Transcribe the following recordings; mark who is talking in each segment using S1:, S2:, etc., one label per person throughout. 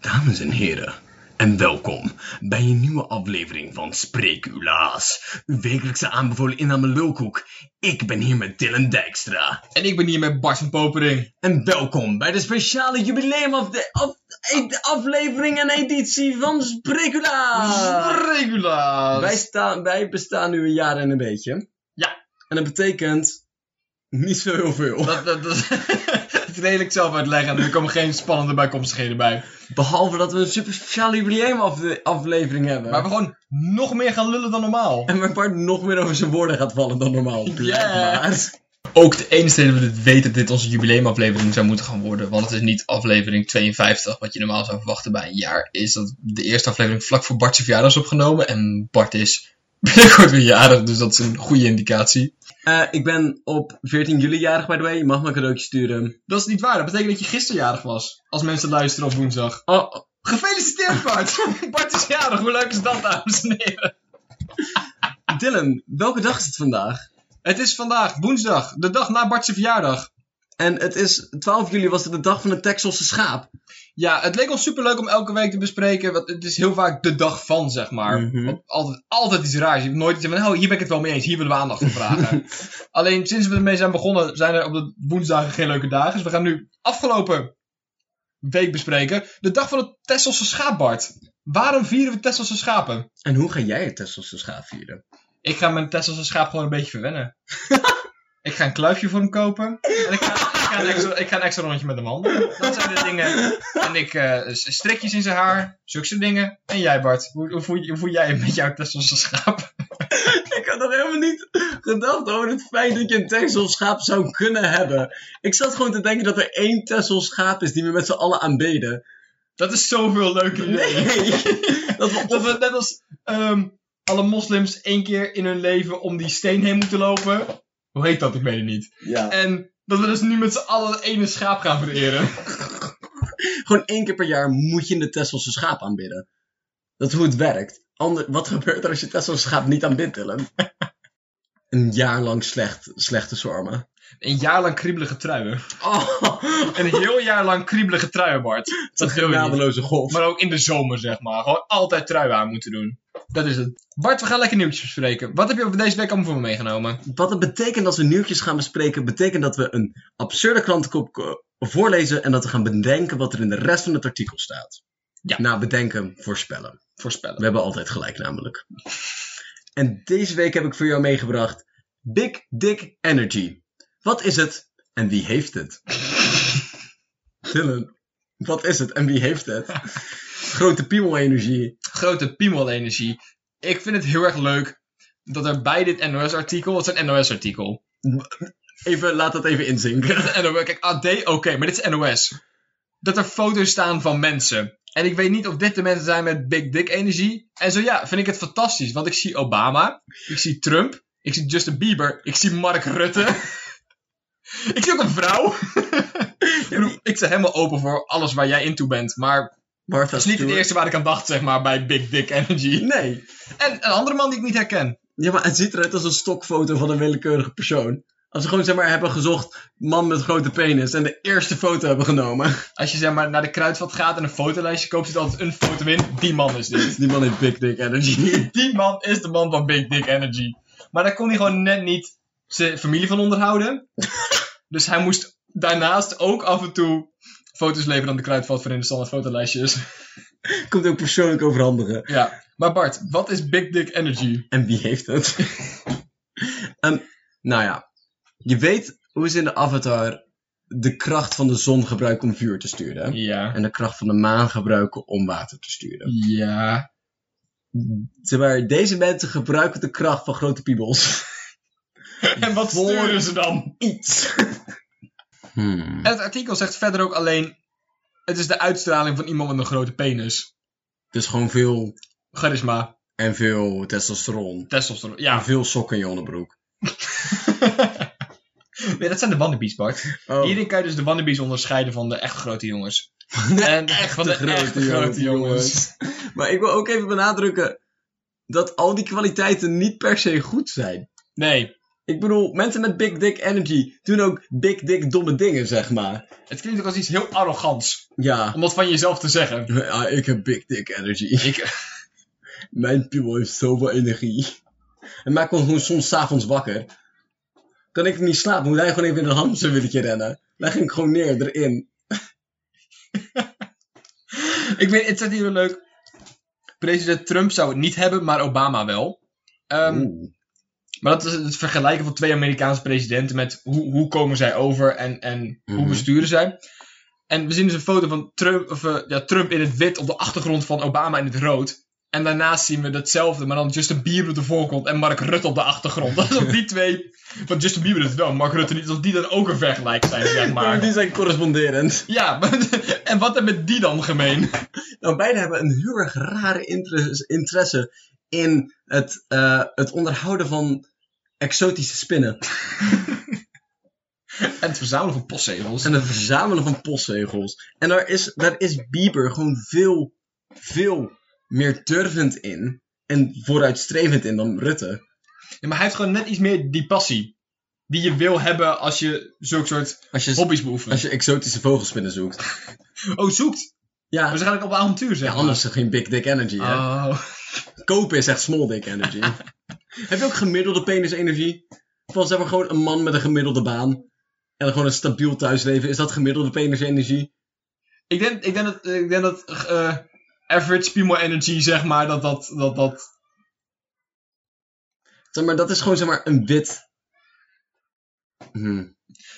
S1: Dames en heren, en welkom bij een nieuwe aflevering van Spreek uw Laas. Uw wekelijkse aanbevolen inname Lulkoek. Ik ben hier met Dylan Dijkstra.
S2: En ik ben hier met Bas van Popering.
S1: En welkom bij de speciale jubileum af de, af, e- aflevering en editie van Spreek uw Laas.
S2: Regulaas.
S1: Wij, staan, wij bestaan nu een jaar en een beetje.
S2: Ja.
S1: En dat betekent niet zo heel veel.
S2: Dat, dat, dat... het is redelijk zelf uitleggen en er komen geen spannende bijkomstigheden bij.
S1: Behalve dat we een super speciale jubileum aflevering hebben.
S2: Maar we gewoon nog meer gaan lullen dan normaal.
S1: En waar Bart nog meer over zijn woorden gaat vallen dan normaal. Blijkbaar.
S2: Ook de enige reden dat we dit weten dat dit onze jubileumaflevering zou moeten gaan worden. Want het is niet aflevering 52, wat je normaal zou verwachten bij een jaar. Is dat de eerste aflevering vlak voor Bart's verjaardag is opgenomen. En Bart is binnenkort weer jarig, dus dat is een goede indicatie.
S1: Eh, ik ben op 14 juli jarig, by the way. Je mag me een cadeautje sturen.
S2: Dat is niet waar, dat betekent dat je gisteren jarig was. Als mensen luisteren op woensdag.
S1: Oh,
S2: Gefeliciteerd Bart! Bart is jarig, hoe leuk is dat dames en heren?
S1: Dylan, welke dag is het vandaag?
S2: Het is vandaag woensdag, de dag na Bart's verjaardag.
S1: En het is 12 juli, was het de dag van de Texelse schaap.
S2: Ja, het leek ons superleuk om elke week te bespreken, want het is heel vaak de dag van, zeg maar.
S1: Mhm.
S2: Want Altijd, altijd iets raars. Je hebt nooit iets van, oh, hier ben ik het wel mee eens, hier willen we aandacht voor vragen. Alleen sinds we ermee zijn begonnen, zijn er op de woensdagen geen leuke dagen. Dus we gaan nu afgelopen week bespreken, de dag van het Tesselse schaap, Bart. Waarom vieren we Tesselse schapen?
S1: En hoe ga jij het Texelse schaap vieren?
S2: Ik ga mijn Tesselse schaap gewoon een beetje verwennen. ik ga een kluifje voor hem kopen. En ik ga, ik ga, een, extra, ik ga een extra rondje met hem handelen. Dat zijn de dingen. En ik eh, s- strikjes in zijn haar. Zulke soort dingen. En jij Bart, hoe, hoe, voel, je- hoe voel jij je met jouw Tesselse schaap?
S1: Ik had nog helemaal niet gedacht over het feit dat je een Texelse schaap zou kunnen hebben. Ik zat gewoon te denken dat er één Texelse schaap is die we met z'n allen aanbeden.
S2: Dat is zoveel leuker.
S1: Nee! dat we
S2: Dat we net als ehm, alle moslims één keer in hun leven om die steen heen moeten lopen. Hoe heet dat? Ik weet het niet.
S1: Ja.
S2: En dat we dus nu met z'n allen dat ene schaap gaan vereren.
S1: Gewoon één keer per jaar moet je de Tesselse schaap aanbidden. Dat is hoe het werkt. Ander, wat gebeurt er als je Tesselse schaap niet aanbidt, Dylan? Een jaar lang slecht, slechte zwarmen.
S2: Een jaar lang kriebelige truien.
S1: Oh,
S2: Een heel jaar lang kriebelige truien, Bart.
S1: een
S2: Dat wil je niet.
S1: genadeloze god.
S2: Maar ook in de zomer, zeg maar. Gewoon altijd truien aan moeten doen. Dat is het. Bart, we gaan lekker nieuwtjes bespreken. Wat heb je over deze week allemaal voor me meegenomen?
S1: Wat het betekent als we nieuwtjes gaan bespreken, betekent dat we een absurde krantenkop eh, voorlezen en dat we gaan bedenken wat er in de rest van het artikel staat.
S2: Ja.
S1: Na bedenken, voorspellen. We
S2: Voorspellen.
S1: hebben altijd gelijk namelijk. En deze week heb ik voor jou meegebracht Big Dick Energy. Wat is het en wie heeft het? Dylan, wat is het en wie heeft het? Grote piemel-energie.
S2: Grote piemel-energie. Ik vind het heel erg leuk dat er bij dit NOS-artikel... Het is een NOS-artikel.
S1: Even, laat dat even inzinken.
S2: NOS, kijk, AD, oké, maar dit is NOS. Dat er foto's staan van mensen. En ik weet niet of dit de mensen zijn met big dick energie. En zo ja, vind ik het fantastisch. Want ik zie Obama, ik zie Trump, ik zie Justin Bieber, ik zie Mark Rutte. ik zie ook een vrouw. ik, bedoel, ik sta helemaal open voor alles waar jij in toe bent. Maar
S1: Martha
S2: dat is niet het
S1: Stewart.
S2: eerste waar ik aan dacht, zeg maar, bij big dick energy.
S1: Nee.
S2: En een andere man die ik niet herken.
S1: Ja, maar het ziet eruit als een stokfoto van een willekeurige persoon. Als ze gewoon zeg maar hebben gezocht man met grote penis en de eerste foto hebben genomen.
S2: Als je zeg maar naar de kruidvat gaat en een fotolijstje koopt, zit altijd een foto in. Die man is dit.
S1: Die man heeft Big Dick Energy.
S2: die man is de man van Big Dick Energy. Maar daar kon hij gewoon net niet zijn familie van onderhouden. dus hij moest daarnaast ook af en toe foto's leveren aan de kruidvat voor in de standaard fotolijstjes.
S1: Komt ook persoonlijk overhandigen.
S2: ja. Maar Bart, wat is Big Dick Energy?
S1: En wie heeft het? Ehm, nou ja, je weet hoe ze in de Avatar de kracht van de zon gebruiken om vuur te sturen.
S2: Ja.
S1: En de kracht van de maan gebruiken om water te sturen.
S2: Ja.
S1: Zeg maar, deze mensen gebruiken de kracht van grote piebels.
S2: En wat
S1: Voor-
S2: sturen ze dan?
S1: Iets. Hmm.
S2: En het artikel zegt verder ook alleen... Het is de uitstraling van iemand met een grote penis.
S1: Dus gewoon veel
S2: Charisma.
S1: en veel testosteron.
S2: Testosteron.
S1: En
S2: Ja.
S1: veel sokken in je onderbroek.
S2: nee, dat zijn de wannabes, Bart.
S1: Oh.
S2: Hierin kan je dus de wannabes onderscheiden van de echt grote jongens. En van de echt grote jongens.
S1: maar ik wil ook even benadrukken dat al die kwaliteiten niet per se goed zijn.
S2: Nee,
S1: Ik bedoel, mensen met big dick energy doen ook big dick domme dingen, zeg maar.
S2: Het klinkt ook als iets heel arrogants.
S1: Ja,
S2: Om dat van jezelf te zeggen.
S1: ja ik heb big dick energy.
S2: Ik,
S1: Mijn piemel heeft zoveel energie. En maakt ons gewoon soms 's avonds wakker. Kan ik niet slapen, moet hij gewoon even in een hamsterwieltje rennen. Leg ik gewoon neer erin.
S2: ik weet, het staat hier wel leuk. President Trump zou het niet hebben, maar Obama wel. Ehm,
S1: Oeh.
S2: Maar dat is het vergelijken van twee Amerikaanse presidenten met hoe, hoe komen zij over en, en hoe
S1: Mhm.
S2: besturen zij. En we zien dus een foto van Trump, of, eh, ja, Trump in het wit op de achtergrond van Obama in het rood. En daarnaast zien we datzelfde, maar dan Justin Bieber op de voorgrond en Mark Rutte op de achtergrond. Alsof die twee, want Justin Bieber doet het wel, Mark Rutte niet, alsof die dan ook een vergelijk zijn, zeg maar.
S1: Die zijn corresponderend.
S2: Ja, maar- en wat hebben die dan gemeen?
S1: Nou, beide hebben een heel erg rare inter- interesse in het, eh, het onderhouden van exotische spinnen.
S2: En het verzamelen van postzegels.
S1: En het verzamelen van postzegels. En daar is, daar is Bieber gewoon veel, veel meer durvend in. En vooruitstrevend in dan Rutte.
S2: Ja, maar hij heeft gewoon net iets meer die passie. Die je wil hebben als je zulke soort
S1: Als je,
S2: hobby's beoefent.
S1: als je exotische vogelspinnen zoekt.
S2: Oh, zoekt.
S1: Ja,
S2: We zijn eigenlijk op avontuur, zeg
S1: ja
S2: maar.
S1: anders is er geen big dick energy. Hè?
S2: Oh.
S1: Kopen is echt small dick energy. Heb je ook gemiddelde penis energie? Volgens zeg maar gewoon een man met een gemiddelde baan. En dan gewoon een stabiel thuisleven. Is dat gemiddelde penis energie?
S2: Ik denk, ik denk dat, ik denk dat eh, average Pimo energy, zeg maar, dat dat, dat, dat...
S1: Zeg maar, dat is gewoon zeg maar een wit... Hm.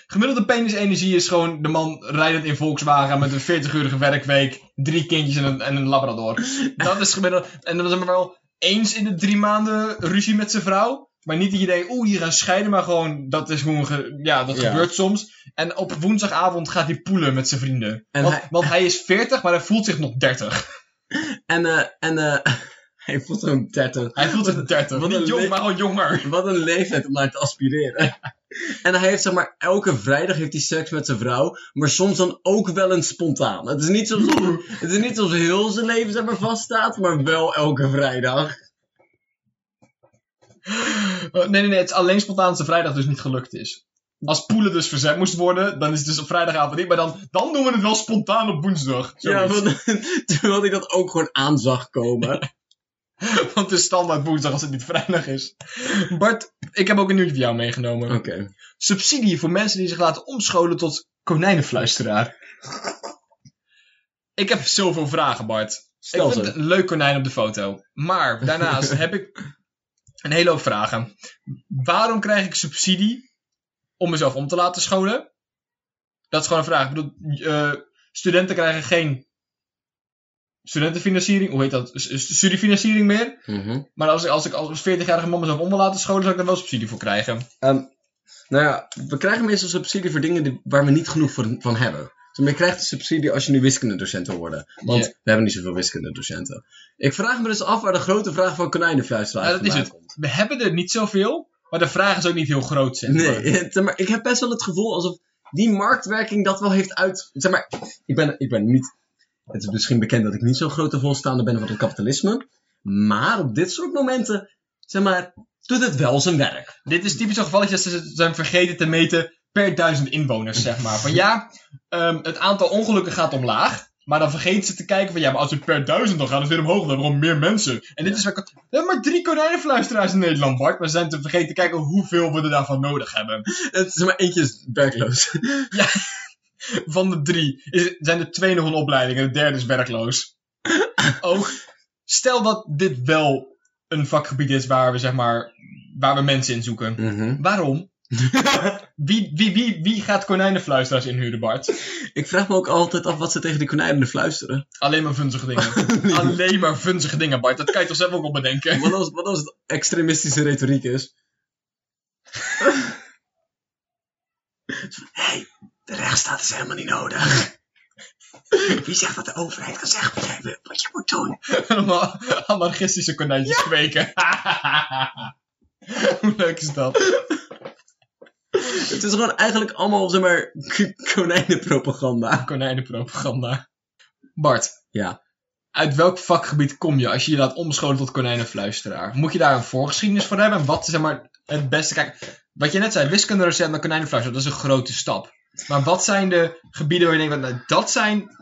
S2: Gemiddelde penis energie is gewoon de man rijdend in Volkswagen met een 40-urige werkweek, drie kindjes en een, en een labrador. Dat is gemiddeld. En dan is er maar wel eens in de drie maanden ruzie met zijn vrouw. Maar niet dat je denkt, oeh, hier gaan scheiden, maar gewoon, dat is hoe een ge- Ja, dat
S1: Ja.
S2: gebeurt soms. En op woensdagavond gaat hij poelen met zijn vrienden.
S1: En
S2: want,
S1: hij-
S2: want hij is 40, maar hij voelt zich nog 30.
S1: En, eh, en eh, hij voelt zo'n 30.
S2: Hij voelt zich 30.
S1: Wat
S2: Niet
S1: een
S2: jong,
S1: le-
S2: maar gewoon jonger.
S1: Wat een leeftijd om naar te aspireren. En hij heeft zeg maar, elke vrijdag heeft hij seks met zijn vrouw, maar soms dan ook wel eens spontaan. Het is niet zoals, het is niet zoals heel zijn leven zeg maar, vaststaat, maar wel elke vrijdag.
S2: Nee, nee, nee. Het is alleen spontaan als de vrijdag dus niet gelukt is. Als poelen dus verzet moest worden, dan is het dus op vrijdagavond niet. Maar dan, dan doen we het wel spontaan op woensdag.
S1: Ja,
S2: Zoiets.
S1: want, terwijl ik dat ook gewoon aan zag komen.
S2: Want het is standaard woensdag als het niet vrijdag is. Bart, ik heb ook een nieuwtje voor jou meegenomen.
S1: Oké.
S2: Subsidie voor mensen die zich laten omscholen tot konijnenfluisteraar. Ik heb zoveel vragen, Bart.
S1: Stel
S2: ik
S1: ze.
S2: vind het een leuk konijn op de foto. Maar daarnaast heb ik een hele hoop vragen. Waarom krijg ik subsidie om mezelf om te laten scholen? Dat is gewoon een vraag. Ik bedoel, eh, studenten krijgen geen studentenfinanciering. Hoe heet dat? S- s- Studiefinanciering meer.
S1: Mhm.
S2: Maar als ik als, ik als 40-jarige man mezelf om wil laten scholen, zou ik daar wel subsidie voor krijgen.
S1: Ehm, nou ja, we krijgen meestal subsidie voor dingen die, waar we niet genoeg van, van hebben. Dus je krijgt een subsidie als je nu wiskundedocent wil worden. Want
S2: Ja.
S1: we hebben niet zoveel wiskundedocenten. Ik vraag me dus af waar de grote vraag van konijnenfluisteraar
S2: Ja, dat is
S1: vandaan
S2: het.
S1: komt.
S2: We hebben er niet zoveel, maar de vraag is ook niet heel groot. Zeg maar.
S1: Nee, zeg maar, ik heb best wel het gevoel alsof die marktwerking dat wel heeft uit... Zeg maar, ik ben, ik ben niet... Het is misschien bekend dat ik niet zo'n grote volstaander ben van het kapitalisme. Maar op dit soort momenten, zeg maar, doet het wel zijn werk.
S2: Dit is typisch zo'n gevalletje dat ze zijn vergeten te meten per duizend inwoners, zeg maar. Van ja, ehm, het aantal ongelukken gaat omlaag. Maar dan vergeten ze te kijken van ja, maar als het per duizend dan gaat het weer omhoog. Dan hebben we gewoon meer mensen. En dit is waar ik- We hebben maar drie konijnenfluisteraars in Nederland, Bart. Maar ze zijn te vergeten te kijken hoeveel we er daarvan nodig hebben.
S1: Het, zeg maar, eentje is werkloos.
S2: Van de drie is, zijn er twee nog een opleiding en de derde is werkloos. Ook, stel dat dit wel een vakgebied is waar we, zeg maar, waar we mensen in zoeken.
S1: Mhm.
S2: Waarom? wie, wie, wie, wie gaat konijnenfluisteraars inhuren, Bart?
S1: Ik vraag me ook altijd af wat ze tegen die konijnen fluisteren.
S2: Alleen maar vunzige dingen. Alleen maar vunzige dingen, Bart. Dat kan je toch zelf ook op bedenken?
S1: Wat als, wat als het extremistische retoriek is? Hé, hey, de rechtsstaat is helemaal niet nodig. Wie zegt dat de overheid kan zeggen wat je moet doen?
S2: Allemaal anarchistische konijntjes kweken. Hoe leuk is dat?
S1: Het is gewoon eigenlijk allemaal, zeg maar, k- konijnenpropaganda.
S2: Konijnenpropaganda. Bart.
S1: Ja.
S2: Uit welk vakgebied kom je als je je laat omscholen tot konijnenfluisteraar? Moet je daar een voorgeschiedenis voor hebben? En wat, zeg maar, het beste. Kijk, wat je net zei, wiskunderecept naar konijnenfluisteren, dat is een grote stap. Maar wat zijn de gebieden waar je denkt, van, nou, dat zijn...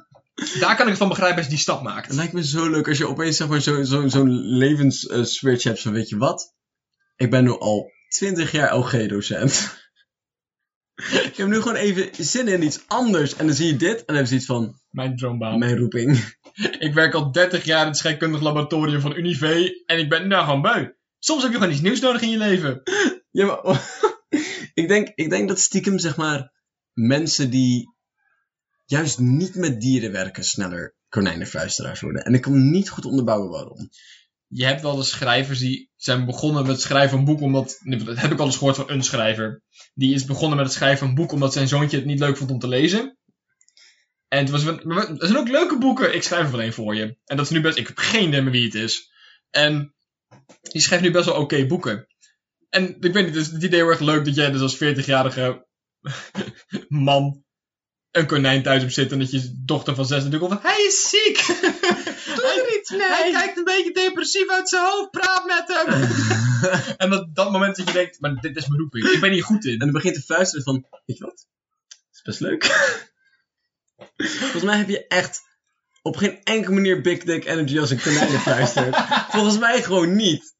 S2: Daar kan ik het van begrijpen als je die stap maakt.
S1: Het lijkt me zo leuk als je opeens zeg maar, zo'n zo, zo'n levensswitch hebt van weet je wat? Ik ben nu al 20 jaar OG-docent. ik heb nu gewoon even zin in iets anders. En dan zie je dit en dan heb je iets van
S2: Mijn droombaan.
S1: mijn roeping.
S2: Ik werk al 30 jaar in het scheikundig laboratorium van Unive en ik ben daar gewoon beu. Soms heb je gewoon iets nieuws nodig in je leven.
S1: Ja, maar, ik, denk, ik denk dat stiekem zeg maar mensen die juist niet met dieren werken sneller konijnenfluisteraars worden. En ik kan niet goed onderbouwen waarom.
S2: Je hebt wel de schrijvers die zijn begonnen met het schrijven van een boek omdat... nee, Dat heb ik al eens gehoord van een schrijver. Die is begonnen met het schrijven van een boek omdat zijn zoontje het niet leuk vond om te lezen. En het was, maar er zijn ook leuke boeken. Ik schrijf er wel één voor je. En dat is nu best... Ik heb geen idee meer wie het is. En die schrijft nu best wel oké boeken. En ik weet niet, dus het idee heel erg leuk dat jij dus als 40-jarige man een konijn thuis hebt zitten. En dat je dochter van 6 natuurlijk al van... Hij is ziek! Hij
S1: iets
S2: hij kijkt een beetje depressief uit zijn hoofd, praat met hem. en dat, dat moment dat je denkt, maar dit is mijn roeping, ik ben hier goed in.
S1: En dan begint te fluisteren van, weet je wat? is best leuk. Volgens mij heb je echt op geen enkele manier Big Dick Energy als een konijn fluistert. Volgens mij gewoon niet.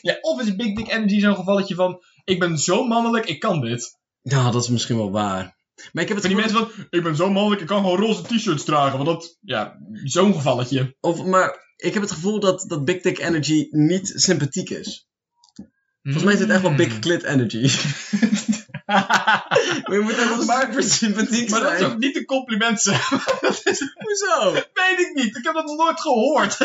S2: Ja, of is Big Dick Energy zo'n gevalletje van, ik ben zo mannelijk, ik kan dit.
S1: Nou, dat is misschien wel waar. Maar ik heb het
S2: Van die
S1: gevoel-
S2: mensen van, ik ben zo mannelijk, ik kan gewoon roze t-shirts dragen. Want dat, ja, zo'n gevalletje.
S1: of, maar ik heb het gevoel dat, dat Big Dick Energy niet sympathiek is. Volgens mij is het echt wel Big Clit Energy. Hmm. maar je moet echt wel
S2: Maar-
S1: super sympathiek
S2: Maar dat
S1: zijn.
S2: is ook niet een compliment, zeg.
S1: Hoezo?
S2: Weet ik niet, ik heb dat nog nooit gehoord.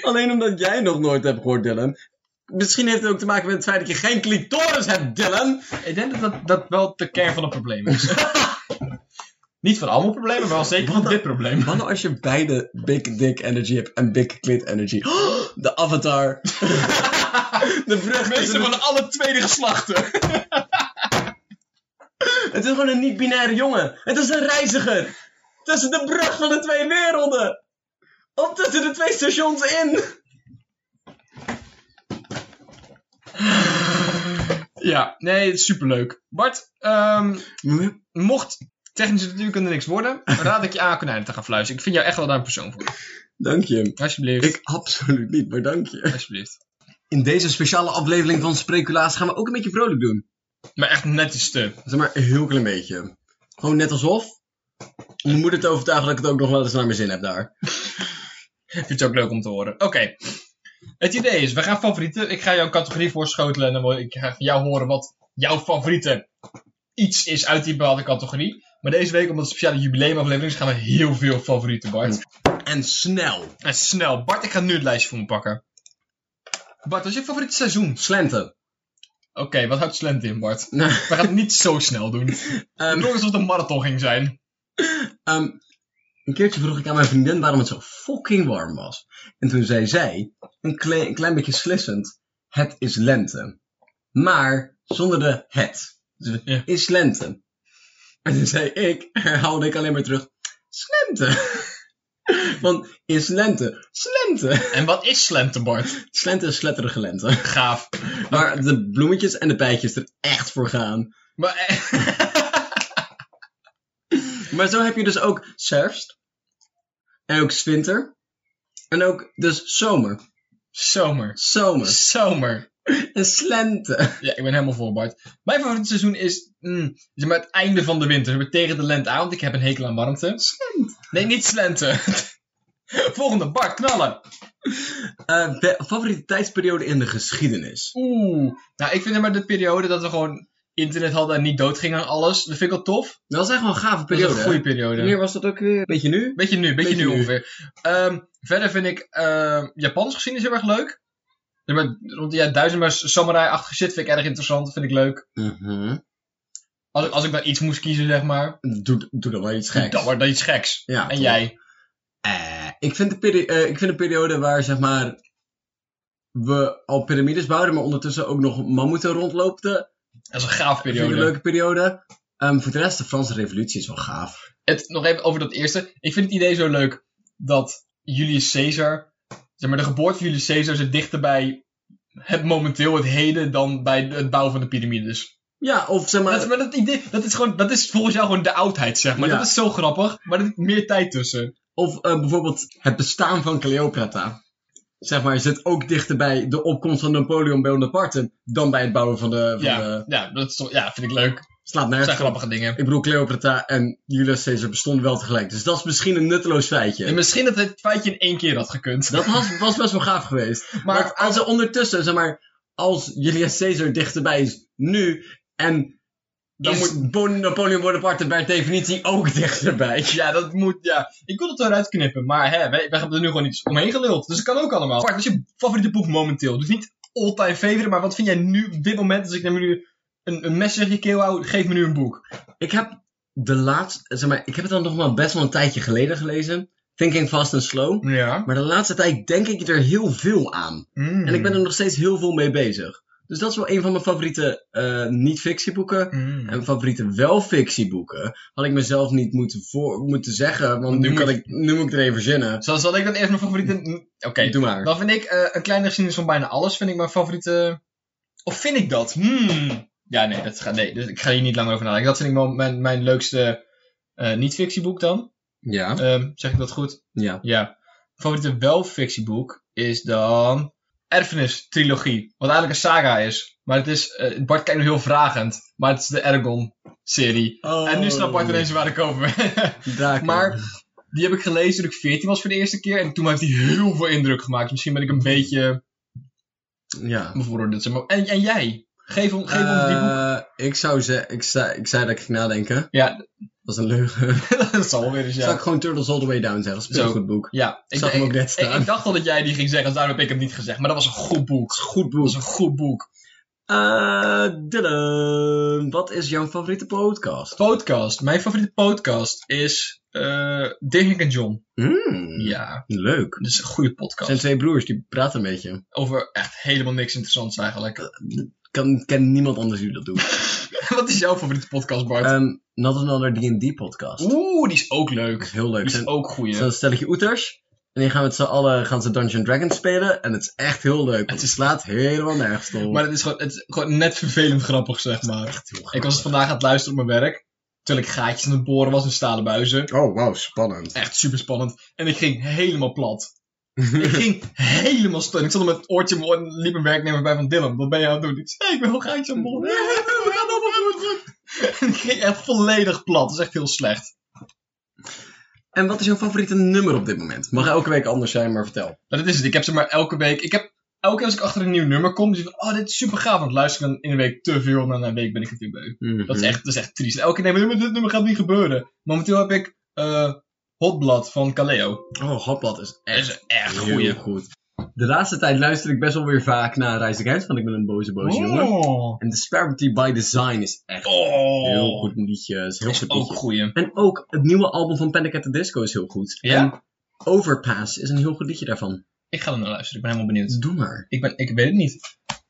S1: Alleen omdat jij nog nooit hebt gehoord, Dylan. Misschien heeft het ook te maken met het feit dat je geen clitoris hebt, Dylan.
S2: Ik denk dat dat, dat wel de kern van het probleem is. Niet van allemaal problemen, maar wel zeker van dit probleem.
S1: Wat nou als je beide Big Dick Energy hebt en Big Clit Energy? De avatar. De vrucht. is
S2: Mensen
S1: een-
S2: van alle tweede geslachten.
S1: Het is gewoon een niet-binaire jongen. Het is een reiziger. Tussen de brug van de twee werelden. Of tussen de twee stations in.
S2: Ja, nee, het is superleuk. Bart, ehm, mocht technische natuurkunde niks worden, raad ik je aan konijnen te gaan fluisteren. Ik vind jou echt wel daar een persoon voor.
S1: Dank je.
S2: Alsjeblieft.
S1: Ik absoluut niet, maar dank je.
S2: Alsjeblieft.
S1: In deze speciale aflevering van Spreculaas gaan we ook een beetje vrolijk doen.
S2: Maar echt net iets te.
S1: Zeg maar een heel klein beetje. Gewoon net alsof. Om Mijn moeder te overtuigen dat ik het ook nog wel eens naar mijn zin heb daar.
S2: Ik vind het ook leuk om te horen. Oké. Het idee is, we gaan favorieten. Ik ga jou een categorie voorschotelen en dan wil ik graag van jou horen wat jouw favoriete iets is uit die bepaalde categorie. Maar deze week, omdat het speciale jubileumaflevering is, gaan we heel veel favorieten, Bart.
S1: En snel.
S2: En snel. Bart, ik ga nu het lijstje voor me pakken. Bart, wat is je favoriete seizoen?
S1: Slenten.
S2: Oké, wat houdt Slent in, Bart?
S1: Nou,
S2: We gaan het niet zo snel doen.
S1: ehm,
S2: Het klonk alsof het een marathon ging zijn.
S1: Ehm, een keertje vroeg ik aan mijn vriendin waarom het zo fucking warm was. En toen zei zij, een klein, een klein beetje slissend, het is lente. Maar zonder de het. Dus
S2: Ja.
S1: is lente. En toen zei ik, herhaalde ik alleen maar terug, is lente. Want is lente, is lente.
S2: En wat is Slente, Bart?
S1: Is lente is sletterige lente.
S2: Gaaf.
S1: Waar de bloemetjes en de bijtjes er echt voor gaan.
S2: Maar, eh,
S1: Maar zo heb je dus ook herfst. En ook winter. En ook dus zomer.
S2: Zomer.
S1: Zomer.
S2: Zomer.
S1: Een slente.
S2: Ja, ik ben helemaal voor, Bart. Mijn favoriete seizoen is mm, zeg maar het einde van de winter. We tegen de lente aan, want ik heb een hekel aan warmte.
S1: Slent.
S2: Nee, niet Slente. Volgende, Bart, knallen.
S1: Eh, be- favoriete tijdsperiode in de geschiedenis.
S2: Oeh. Nou, ik vind zeg maar de periode dat we gewoon internet hadden en niet doodgingen aan alles. Dat vind ik wel tof.
S1: Dat was echt wel een gave
S2: Dat is
S1: periode.
S2: een goede
S1: hè?
S2: periode.
S1: Wanneer was dat ook weer? Beetje nu?
S2: Beetje nu, beetje,
S1: Beetje
S2: nu
S1: nu.
S2: ongeveer. Ehm, verder vind ik ehm Japans geschiedenis heel erg leuk. Ja, maar rond de ja, duizendmaar samurai-achtige shit vind ik erg interessant, vind ik leuk. Mhm. Als ik, als ik dan iets moest kiezen, zeg maar.
S1: Doe, doe dan wel iets geks.
S2: Dat wordt dan iets geks.
S1: Ja,
S2: en
S1: toch?
S2: jij?
S1: Eh, ik, vind de peri- eh, ik vind de periode waar zeg maar we al piramides bouwden, maar ondertussen ook nog mammoeten rondloopten.
S2: Dat is een gaaf
S1: Vind ik
S2: periode.
S1: een leuke periode. Ehm, voor de rest, de Franse revolutie is wel gaaf.
S2: Het, nog even over dat eerste. Ik vind het idee zo leuk dat Julius Caesar, zeg maar de geboorte van Julius Caesar zit dichter bij het momenteel, het heden, dan bij de- het bouwen van de Dus piramides.
S1: Ja, of zeg maar...
S2: Maar dat, maar dat idee, dat is, gewoon, dat is volgens jou gewoon de oudheid, zeg maar.
S1: Ja.
S2: Dat is zo grappig, maar er zit meer tijd tussen.
S1: Of eh, bijvoorbeeld het bestaan van Cleopatra. Zeg maar, zit ook dichter bij de opkomst van Napoleon Bonaparte dan bij het bouwen van de... Van
S2: Ja,
S1: de
S2: ja, dat is toch, ja, vind ik leuk.
S1: slaat
S2: Dat
S1: nergens
S2: zijn
S1: op.
S2: grappige dingen.
S1: Ik bedoel, Cleopatra en Julius Caesar bestonden wel tegelijk. Dus dat is misschien een nutteloos feitje.
S2: En misschien dat het feitje in één keer had gekund.
S1: Dat was, was best wel gaaf geweest. Maar
S2: maar
S1: als er ondertussen, zeg maar, als Julius Caesar dichterbij is nu en dan
S2: Is-
S1: moet Bon- Napoleon Bonaparte per definitie ook dichterbij.
S2: ja, dat moet, ja. Ik wil het eruit knippen, maar hè, wij, wij hebben er nu gewoon iets omheen geluld. Dus dat kan ook allemaal. Bart, wat is je favoriete boek momenteel? Dus niet all-time favorite, maar wat vind jij nu, op dit moment, als ik naar nu een, een mesje in je keel hou, geef me nu een boek.
S1: Ik heb de laatste, zeg maar, ik heb het dan nog maar best wel een tijdje geleden gelezen. Thinking Fast and Slow.
S2: Ja.
S1: Maar de laatste tijd denk ik er heel veel aan. En ik ben
S2: Mhm.
S1: er nog steeds heel veel mee bezig. Dus dat is wel een van mijn favoriete eh, niet-fictieboeken. En mijn favoriete wel-fictieboeken had ik mezelf niet moeten, voor, moeten zeggen, want
S2: Nu
S1: nu,
S2: moet
S1: kan
S2: je-
S1: ik, nu moet ik er even zinnen.
S2: Zal, zal ik dan eerst mijn favoriete... Oké,
S1: Doe maar.
S2: dan vind ik eh, een kleine geschiedenis van bijna alles, vind ik mijn favoriete... Of vind ik dat? Hmm. Ja, nee, dat ga, nee dus ik ga hier niet lang over nadenken. Dat vind ik wel mijn, mijn leukste eh, niet-fictieboek dan.
S1: Ja.
S2: Ehm, zeg ik dat goed?
S1: ja.
S2: Ja. Favoriete wel-fictieboek is dan Erfenis Trilogie. Wat eigenlijk een saga is. Maar het is, eh, Bart kijkt nu heel vragend. Maar het is de Eragon serie. Oh. En nu snapt Bart ineens waar ik over ben.
S1: Draken.
S2: maar die heb ik gelezen toen ik 14 was voor de eerste keer. En toen heeft die heel veel indruk gemaakt. Misschien ben ik een beetje
S1: Ja.
S2: bevooroordeeld. zeg maar. En, en jij? Geef, om, geef ons die boek.
S1: Eh, ik zou zeggen, ik, zei- ik zei dat ik ging nadenken.
S2: Ja,
S1: Dat is een leugen.
S2: dat zal weer eens,
S1: Zou
S2: ja.
S1: ik gewoon Turtles All the Way Down zeggen? Speel
S2: Zo.
S1: goed boek.
S2: Ja, ik,
S1: Zag hem ook
S2: ik,
S1: net
S2: ik,
S1: staan.
S2: ik dacht al dat jij die ging zeggen, dus daarom heb ik hem niet gezegd. Maar dat was een goed boek.
S1: Goed
S2: Dat
S1: boek.
S2: was een goed boek.
S1: Eh, Dylan, wat is jouw favoriete podcast?
S2: Podcast. Mijn favoriete podcast is eh Dick en John.
S1: Mm,
S2: Ja,
S1: Leuk.
S2: dat is een goede
S1: Het
S2: podcast.
S1: zijn twee broers, die praten een beetje.
S2: Over echt helemaal niks interessants eigenlijk.
S1: Kan, ken niemand anders die dat doet.
S2: Wat is jouw favoriete podcast, Bart?
S1: Ehm Not Another D&D podcast.
S2: Oeh, die is ook leuk.
S1: Dat is heel leuk.
S2: Die
S1: Het zijn-
S2: is ook
S1: het
S2: goeie.
S1: zijn een stelletje oeters. En die gaan met z'n allen gaan ze Dungeon Dragons spelen. En het is echt heel leuk. want
S2: Het
S1: Het slaat helemaal nergens op.
S2: Maar het is, gewoon, het is gewoon net vervelend grappig, zeg maar.
S1: Echt heel
S2: Ik
S1: grappig.
S2: was vandaag aan het luisteren op mijn werk. Terwijl ik gaatjes aan het boren was in stalen buizen.
S1: Oh, wauw, spannend.
S2: Echt super spannend. En ik ging helemaal plat. Ik ging helemaal stil. Ik stond er met het oortje in mijn oor en liep een werknemer bij van Dylan. Wat ben je aan het doen? Ik zei, ik ben wel gaatje aan het boren. We gaan allemaal goed. En ik ging echt volledig plat. Dat is echt heel slecht.
S1: En wat is jouw favoriete nummer op dit moment? Mag elke week anders zijn, maar vertel.
S2: Maar dat is het. Ik heb ze maar elke week... Ik heb elke keer als ik achter een nieuw nummer kom... Dus ik van, oh, dit is super gaaf. Want luister ik dan in een week te veel. En na een week ben ik het weer beu. Dat is echt, dat is echt triest. Elke keer, nee, maar dit nummer gaat niet gebeuren. Momenteel heb ik... eh Hotblad van Kaleo.
S1: Oh, Hotblad is
S2: Dat
S1: echt
S2: is echt
S1: heel
S2: goeie.
S1: goed. De laatste tijd luister ik best wel weer vaak naar Rise Against, want ik ben een boze boze jongen.
S2: Oh.
S1: En Disparity by Design is echt
S2: Oh.
S1: heel goed een liedje. Is een heel
S2: Dat is
S1: goed
S2: ook
S1: liedje.
S2: goeie.
S1: En ook het nieuwe album van Panic at the Disco is heel goed.
S2: Ja?
S1: En Overpass is een heel goed liedje daarvan.
S2: Ik ga er naar luisteren, ik ben helemaal
S1: Dus
S2: benieuwd.
S1: doe maar.
S2: Ik, ben, ik weet het niet.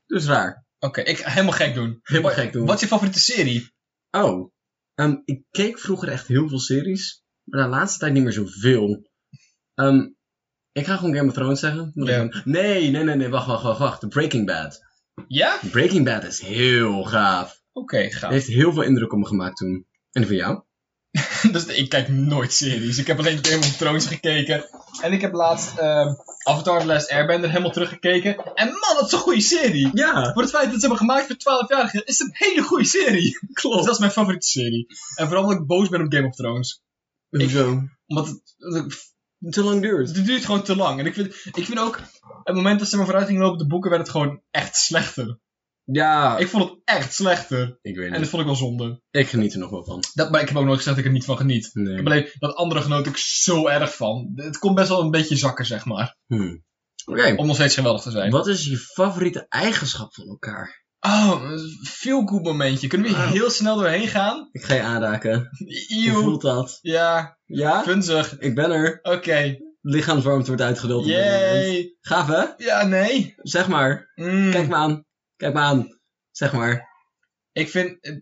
S1: Dus raar.
S2: Oké, ik ga helemaal gek doen.
S1: Helemaal
S2: Wat-
S1: gek doen.
S2: Wat is je favoriete serie?
S1: Oh, ehm, ik keek vroeger echt heel veel series, maar de laatste tijd niet meer zoveel. Ehm, ik ga gewoon Game of Thrones zeggen. want ik
S2: Ja.
S1: ben- Nee, nee, nee, nee, wacht, wacht, wacht, wacht. Breaking Bad.
S2: Ja?
S1: Breaking Bad is heel gaaf.
S2: Oké, gaaf.
S1: Heeft heel veel indruk op me gemaakt toen. En voor jou?
S2: Dus ik kijk nooit series. Ik heb alleen Game of Thrones gekeken. En ik heb laatst ehm, Avatar The Last Airbender helemaal teruggekeken. En man, dat is een goede serie.
S1: Ja,
S2: Voor het feit dat ze hebben gemaakt voor 12 jaar is het een hele goede serie.
S1: Oh.
S2: Dus dat is mijn favoriete serie. En vooral omdat ik boos ben op Game of Thrones.
S1: Hoezo?
S2: Omdat het,
S1: Te lang duurt.
S2: het duurt gewoon te lang. En ik vind, ik vind ook, het moment dat ze maar vooruit gingen lopen op de boeken, werd het gewoon echt slechter.
S1: Ja, ik,
S2: Ik vond het echt slechter.
S1: weet
S2: En
S1: niet.
S2: dat vond ik wel zonde.
S1: Ik geniet er nog wel van.
S2: Dat, maar ik heb ook nooit gezegd dat ik er niet van geniet. Ik
S1: Nee.
S2: heb alleen dat andere genoot ik zo erg van. Het komt best wel een beetje zakken, zeg maar.
S1: Hmm. Oké,
S2: Om nog steeds geweldig te zijn.
S1: wat is je favoriete eigenschap van elkaar?
S2: Oh, veel goed momentje. Kunnen we hier
S1: Wauw.
S2: heel snel doorheen gaan?
S1: Ik ga je aanraken. Hoe
S2: Eeuw.
S1: voelt dat?
S2: Ja,
S1: Ja,
S2: punzig.
S1: ik ben er.
S2: Oké.
S1: lichaamswarmte wordt uitgedeeld. op dit moment.
S2: Yay.
S1: Gaaf hè?
S2: Ja, nee.
S1: Zeg maar.
S2: Mm.
S1: Kijk me aan. Kijk me aan. Zeg maar.
S2: Ik eh, vind...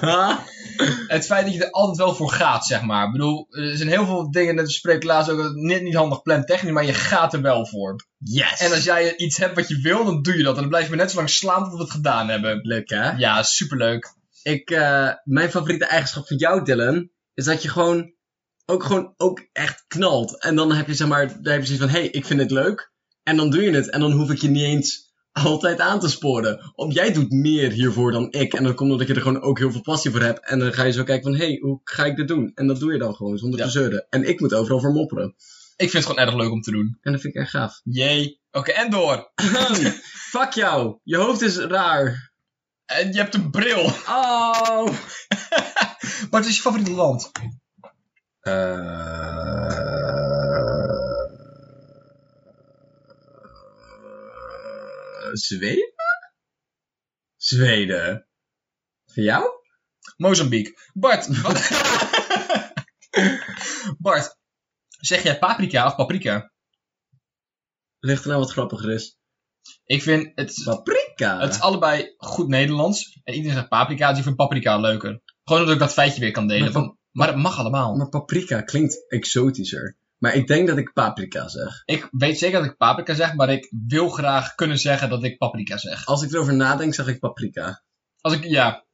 S1: Ha?
S2: het feit dat je er altijd wel voor gaat, zeg maar. Ik bedoel, er zijn heel veel dingen, dat spreek ik laatst ook, dat het niet, niet handig plantechnisch, maar je gaat er wel voor.
S1: Yes!
S2: En als jij iets hebt wat je wil, dan doe je dat. En dan blijf je maar net zo lang slaan tot we het gedaan hebben.
S1: Leuk hè?
S2: Ja, superleuk.
S1: Ik, eh, mijn favoriete eigenschap van jou, Dylan, is dat je gewoon ook, gewoon ook echt knalt. En dan heb je zeg maar, dan heb je zoiets van, hé, hey, ik vind het leuk. En dan doe je het. En dan hoef ik je niet eens altijd aan te sporen. Of jij doet meer hiervoor dan ik. En dat komt omdat je er gewoon ook heel veel passie voor hebt. En dan ga je zo kijken van, hé, hey, hoe ga ik dit doen? En dat doe je dan gewoon, zonder
S2: Ja.
S1: te zeuren. En ik moet overal voor mopperen.
S2: Ik vind het gewoon erg leuk om te doen.
S1: En dat vind ik echt gaaf.
S2: Jee. Oké, en door.
S1: Fuck jou, je hoofd is raar.
S2: En je hebt een bril.
S1: Oh!
S2: Wat is je favoriete land?
S1: Eh, Zweden? Zweden. Voor jou?
S2: Mozambique. Bart. wat- Bart. Zeg jij paprika of paprika?
S1: Ligt er nou wat grappiger is.
S2: Ik vind het,
S1: Paprika.
S2: het is allebei goed Nederlands. En iedereen zegt paprika, dus ik vind paprika leuker. Gewoon omdat ik dat feitje weer kan delen.
S1: Maar
S2: Van, maar het mag allemaal.
S1: Maar paprika klinkt exotischer. Maar ik denk dat ik paprika zeg.
S2: Ik weet zeker dat ik paprika zeg, maar ik wil graag kunnen zeggen dat ik paprika zeg.
S1: Als ik erover nadenk, zeg ik paprika.
S2: Als ik, ja.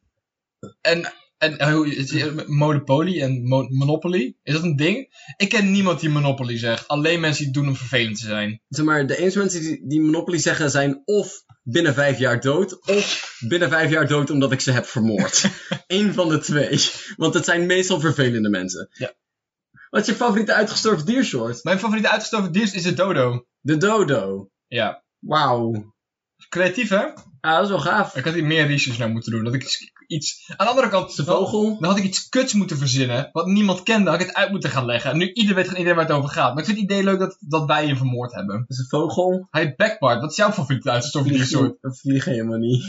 S2: En, en eh, hoe- is die- Monopoly en Mo- Monopoly, is dat een ding? Ik ken niemand die Monopoly zegt. Alleen mensen die het doen om vervelend te zijn.
S1: Zeg maar, de enige mensen die, die Monopoly zeggen zijn of binnen vijf jaar dood, of binnen vijf jaar dood omdat ik ze heb vermoord. Eén van de twee. Want het zijn meestal vervelende mensen.
S2: Ja.
S1: Wat is je favoriete uitgestorven diersoort?
S2: Mijn favoriete uitgestorven dier is de dodo.
S1: De dodo.
S2: Ja.
S1: Wauw.
S2: Creatief, hè?
S1: Ah, dat is wel gaaf.
S2: Ik had hier meer research naar moeten doen. Dat ik iets- iets... Aan de andere kant...
S1: De vogel.
S2: Dan had ik iets kuts moeten verzinnen, wat niemand kende. Had ik het uit moeten gaan leggen. En nu ieder weet iedereen waar het over gaat. Maar ik vind het idee leuk dat, dat wij je vermoord hebben.
S1: Dat is een vogel.
S2: Hij backpart. Wat is jouw favoriete uitgestorven
S1: Vliegen-
S2: diersoort?
S1: Vliegen helemaal niet.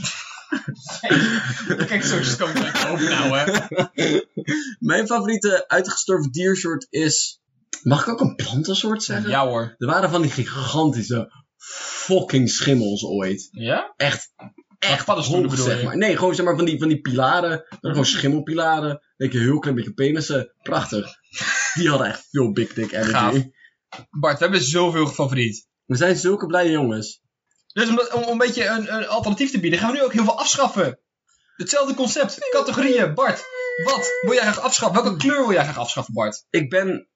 S2: Kijk, zo is het ook niet over nou, hè?
S1: Mijn favoriete uitgestorven diersoort is... Mag ik ook een plantensoort zeggen?
S2: Ja hoor.
S1: Er waren van die gigantische fucking schimmels ooit.
S2: Ja?
S1: Echt
S2: Echt paddenstoelen
S1: hoog,
S2: bedoel
S1: zeg
S2: je?
S1: maar. Nee, gewoon zeg maar van die, van die pilaren. Dat waren gewoon schimmelpilaren. Denk je heel klein beetje penissen. Prachtig. Die hadden echt veel big dick energy.
S2: Gaaf. Bart, we hebben zoveel favoriet.
S1: We zijn zulke blije jongens.
S2: Dus om, om een beetje een, een alternatief te bieden, gaan we nu ook heel veel afschaffen. Hetzelfde concept, categorieën. Bart, wat wil jij graag afschaffen? Welke kleur wil jij graag afschaffen, Bart?
S1: Ik ben...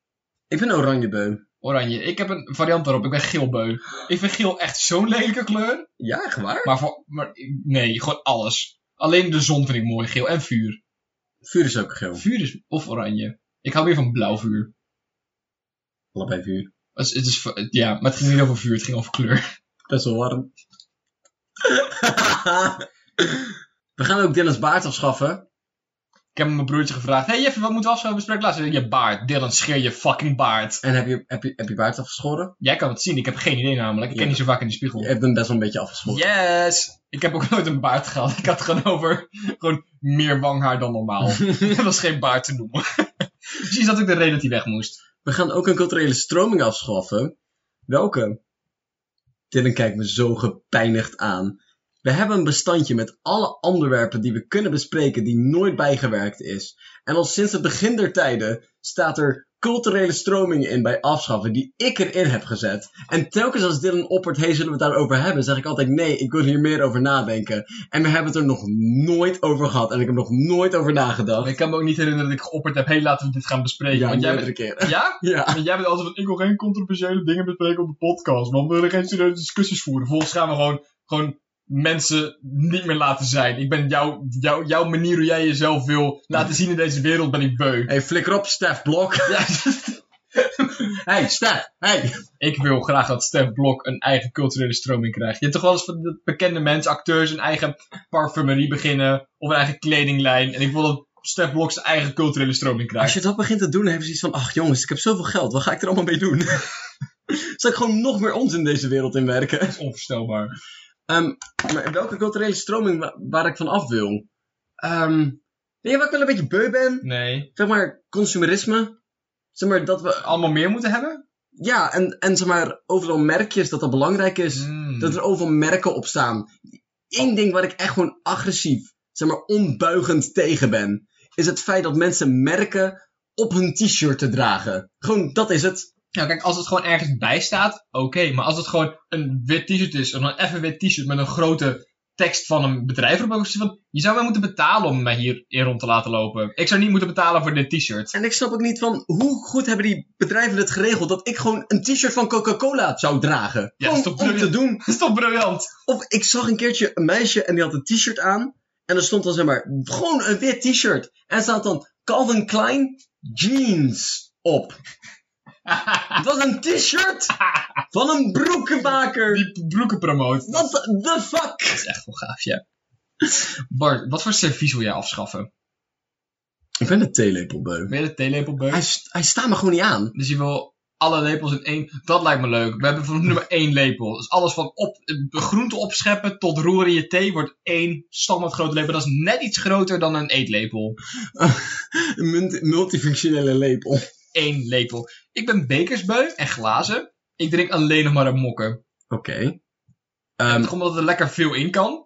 S1: Ik ben oranje beu.
S2: Oranje. Ik heb een variant daarop. Ik ben geelbeu. Ik vind geel echt zo'n lelijke kleur.
S1: Ja, echt waar?
S2: Maar voor... Maar, nee, gewoon alles. Alleen de zon vind ik mooi geel. En vuur.
S1: Vuur is ook geel.
S2: Vuur is... Of oranje. Ik hou meer van blauw vuur.
S1: Allebei vuur.
S2: Het is, het is, ja, maar het ging niet over vuur. Het ging over kleur.
S1: Best wel warm. We gaan ook Dylan's baard afschaffen.
S2: Ik heb mijn broertje gevraagd. Hé hey, Jeffy, wat moeten we afschaffen? Bespreek laatst. Hij zei, Je baard. Dylan, scheer je fucking baard.
S1: En heb je, heb je, heb je baard afgeschoren?
S2: Jij kan het zien, ik heb geen idee namelijk. Ik
S1: Ja.
S2: ken niet zo vaak in de spiegel.
S1: Je hebt hem best wel een beetje afgeschoren.
S2: Yes! Ik heb ook nooit een baard gehad. Ik had gewoon over gewoon meer wanghaar dan normaal. dat was geen baard te noemen. Precies dat ik de reden dat hij weg moest.
S1: We gaan ook een culturele stroming afschaffen. Welke? Dylan kijkt me zo gepijnigd aan. We hebben een bestandje met alle onderwerpen die we kunnen bespreken die nooit bijgewerkt is. En al sinds het begin der tijden staat er culturele stromingen in bij afschaffen die ik erin heb gezet. En telkens als Dylan oppert, hey zullen we het daarover hebben, zeg ik altijd nee, ik wil hier meer over nadenken. En we hebben het er nog nooit over gehad en ik heb er nog nooit over nagedacht.
S2: Ik kan me ook niet herinneren dat ik geopperd heb, hé laten we dit gaan bespreken.
S1: Ja,
S2: want jij
S1: meerdere
S2: bent...
S1: keer.
S2: Ja?
S1: Ja.
S2: Want jij bent altijd van, ik wil geen controversiële dingen bespreken op de podcast. Want we willen geen serieuze discussies voeren. Volgens gaan we gewoon, gewoon mensen niet meer laten zijn. Ik ben jouw jouw jouw manier hoe jij jezelf wil laten zien in deze wereld, ben ik beu.
S1: Hey, flikker op, Stef Blok.
S2: Ja.
S1: Hey, Stef, hey.
S2: Ik wil graag dat Stef Blok een eigen culturele stroming krijgt. Je hebt toch wel eens van dat bekende mensen, acteurs, een eigen parfumerie beginnen. Of een eigen kledinglijn. En ik wil dat Stef Blok zijn eigen culturele stroming
S1: Als
S2: krijgt.
S1: je dat begint te doen, dan heb je zoiets van... Ach jongens, ik heb zoveel geld. Wat ga ik er allemaal mee doen? Zal ik gewoon nog meer ons in deze wereld inwerken?
S2: Dat is onvoorstelbaar.
S1: Ehm maar welke culturele stroming wa- waar ik van af wil? Ehm weet je waar ik wel een beetje beu ben?
S2: Nee.
S1: Zeg maar, consumerisme. Zeg maar, dat we...
S2: Allemaal meer moeten hebben?
S1: Ja, en, en zeg maar, overal merkjes dat dat belangrijk is.
S2: Mm.
S1: Dat er overal merken op
S2: Oh.
S1: staan. Eén ding waar ik echt gewoon agressief, zeg maar onbuigend tegen ben, is het feit dat mensen merken op hun t-shirt te dragen. Gewoon, dat is het.
S2: Nou, kijk, als het gewoon ergens bij staat, oké. Maar als het gewoon een wit t-shirt is, of een even wit t-shirt met een grote tekst van een bedrijf erop, dan is het van, je zou mij moeten betalen om mij hier in rond te laten lopen. Ik zou niet moeten betalen voor dit t-shirt.
S1: En ik snap ook niet van hoe goed hebben die bedrijven het geregeld dat ik gewoon een t-shirt van Coca-Cola zou dragen.
S2: Ja,
S1: Gewoon
S2: dat is toch
S1: om te doen.
S2: Dat is toch briljant?
S1: Of ik zag een keertje een meisje en die had een t-shirt aan. En er stond dan zeg maar gewoon een wit t-shirt. En staat dan Calvin Klein jeans op. Dat is een t-shirt van een broekenmaker.
S2: Die broeken promoot.
S1: What the fuck?
S2: Dat is echt wel gaaf, ja. Bart, wat voor servies wil jij afschaffen?
S1: Ik ben een theelepelbeu.
S2: Weer de theelepelbeuk?
S1: Hij, st- hij staat me gewoon niet aan.
S2: Dus je wil alle lepels in één. Dat lijkt me leuk. We hebben van nummer één lepel. Dus alles van op, groente opscheppen tot roeren in je thee wordt één standaard grote lepel. Dat is net iets groter dan een eetlepel.
S1: Een munt- multifunctionele lepel.
S2: Eén lepel. Ik ben bekersbeu en glazen. Ik drink alleen nog maar een mokken.
S1: Oké. Ehm,
S2: Toch omdat er lekker veel in kan.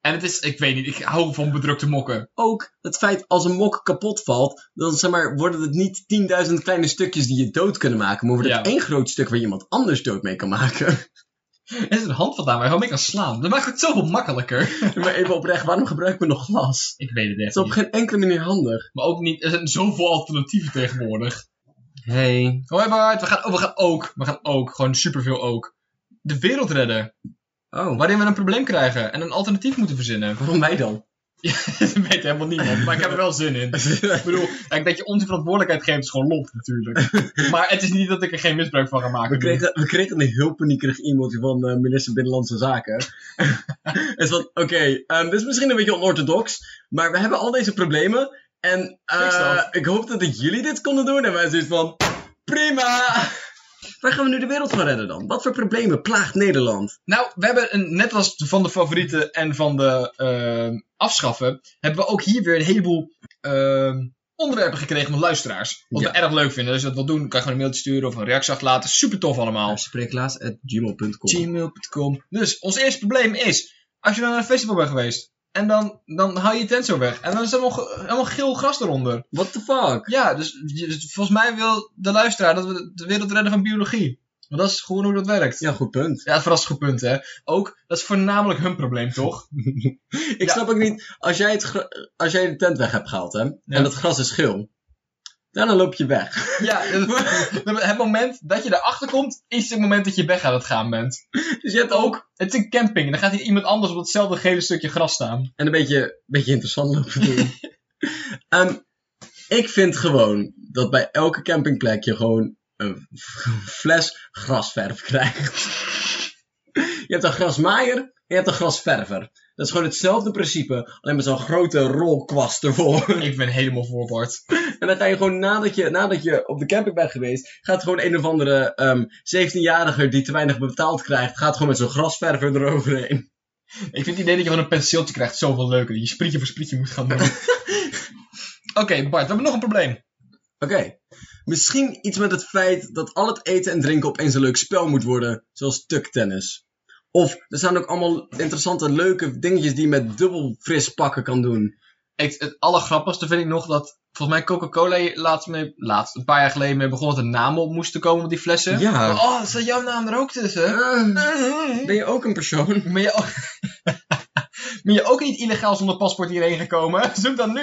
S2: En het is, ik weet niet, ik hou van bedrukte mokken.
S1: ook het feit als een mok kapot valt, dan zeg maar, worden het niet 10.000 kleine stukjes die je dood kunnen maken, maar wordt het
S2: Ja.
S1: één groot stuk waar iemand anders dood mee kan maken.
S2: Er is een hand vandaan waar je gewoon mee kan slaan. Dat maakt het zoveel makkelijker.
S1: maar even oprecht, waarom gebruiken we nog glas?
S2: Ik weet het
S1: Het is
S2: echt
S1: op
S2: niet.
S1: geen enkele manier handig.
S2: Maar ook niet, er zijn zoveel alternatieven tegenwoordig.
S1: Hey.
S2: Hoi Bart, we gaan, oh, we gaan ook. We gaan ook. Gewoon superveel ook. De wereld redden.
S1: Oh,
S2: Waarin we een probleem krijgen en een alternatief moeten verzinnen.
S1: waarom wij dan?
S2: dat weet helemaal niemand, maar ik heb er wel zin in. Ik bedoel, kijk, dat je ons die verantwoordelijkheid geeft is gewoon lof natuurlijk. Maar het is niet dat ik er geen misbruik van ga
S1: We
S2: maken.
S1: kregen, we kregen een heel paniekerig e-mailtje van eh, minister Binnenlandse Zaken. Het is van, oké, ehm, dit is misschien een beetje onorthodox, maar we hebben al deze problemen. En eh,
S2: Fix dat.
S1: ik hoop dat jullie dit konden doen. En wij zoiets van, prima! Waar gaan we nu de wereld van redden dan? Wat voor problemen plaagt Nederland?
S2: Nou, we hebben een, net als van de favorieten en van de ehm, afschaffen, hebben we ook hier weer een heleboel ehm, onderwerpen gekregen van luisteraars. Wat we erg leuk vinden. Dus als je dat wil doen, kan je gewoon een mailtje sturen of een reactie achterlaten. Super tof allemaal.
S1: Spreeklaas.gmail.com
S2: gmail.com. Dus ons eerste probleem is, als je dan naar een festival bent geweest, en dan, dan haal je je tent zo weg. En dan is er nog eh, helemaal geel gras eronder.
S1: What the fuck?
S2: Ja, dus, je- dus volgens mij wil de luisteraar dat we de- de wereld redden van biologie. Want dat is gewoon hoe dat werkt. Ja,
S1: Ja, goed punt.
S2: verrassend goed punt, hè. Ook, dat is voornamelijk hun probleem, toch?
S1: Ik
S2: Ja.
S1: snap ook niet, als jij, het gr- als jij de tent weg hebt gehaald, hè, en dat gras is geel, daarna loop je weg.
S2: ja, het, het moment dat je erachter komt, is het moment dat je weg aan het gaan bent.
S1: Dus je hebt ook...
S2: Ook, het is een camping. En dan gaat hier iemand anders op hetzelfde gele stukje gras staan.
S1: En een beetje, beetje interessant lopen doen. Ehm, ik vind gewoon dat bij elke campingplek je gewoon een f- fles grasverf krijgt. je hebt een grasmaaier en je hebt een grasverver. Dat is gewoon hetzelfde principe, alleen met zo'n grote rolkwast ervoor.
S2: Ik ben helemaal voor, Bart.
S1: En dan ga je gewoon nadat je, nadat je op de camping bent geweest, gaat gewoon een of andere ehm 17-jarige die te weinig betaald krijgt, gaat gewoon met zo'n grasverver eroverheen.
S2: Ik vind het idee dat je gewoon een penseeltje krijgt zoveel leuker. Dat je sprietje voor sprietje moet gaan doen. Oké, Bart, we hebben nog een probleem.
S1: Oké, misschien iets met het feit dat al het eten en drinken opeens een leuk spel moet worden, zoals tuktennis. Of er staan ook allemaal interessante, leuke dingetjes die je met dubbel fris pakken kan doen.
S2: Ik, het allergrappigste vind ik nog dat... Volgens mij Coca-Cola hier laatst, mee, laatst, een paar jaar geleden mee begon dat er namen op moesten komen op die flessen.
S1: Ja.
S2: Oh, staat jouw naam er ook tussen?
S1: Eh, ben je ook een persoon?
S2: Ben je, ook, ben je ook niet illegaal zonder paspoort hierheen gekomen? Zoek dan nu.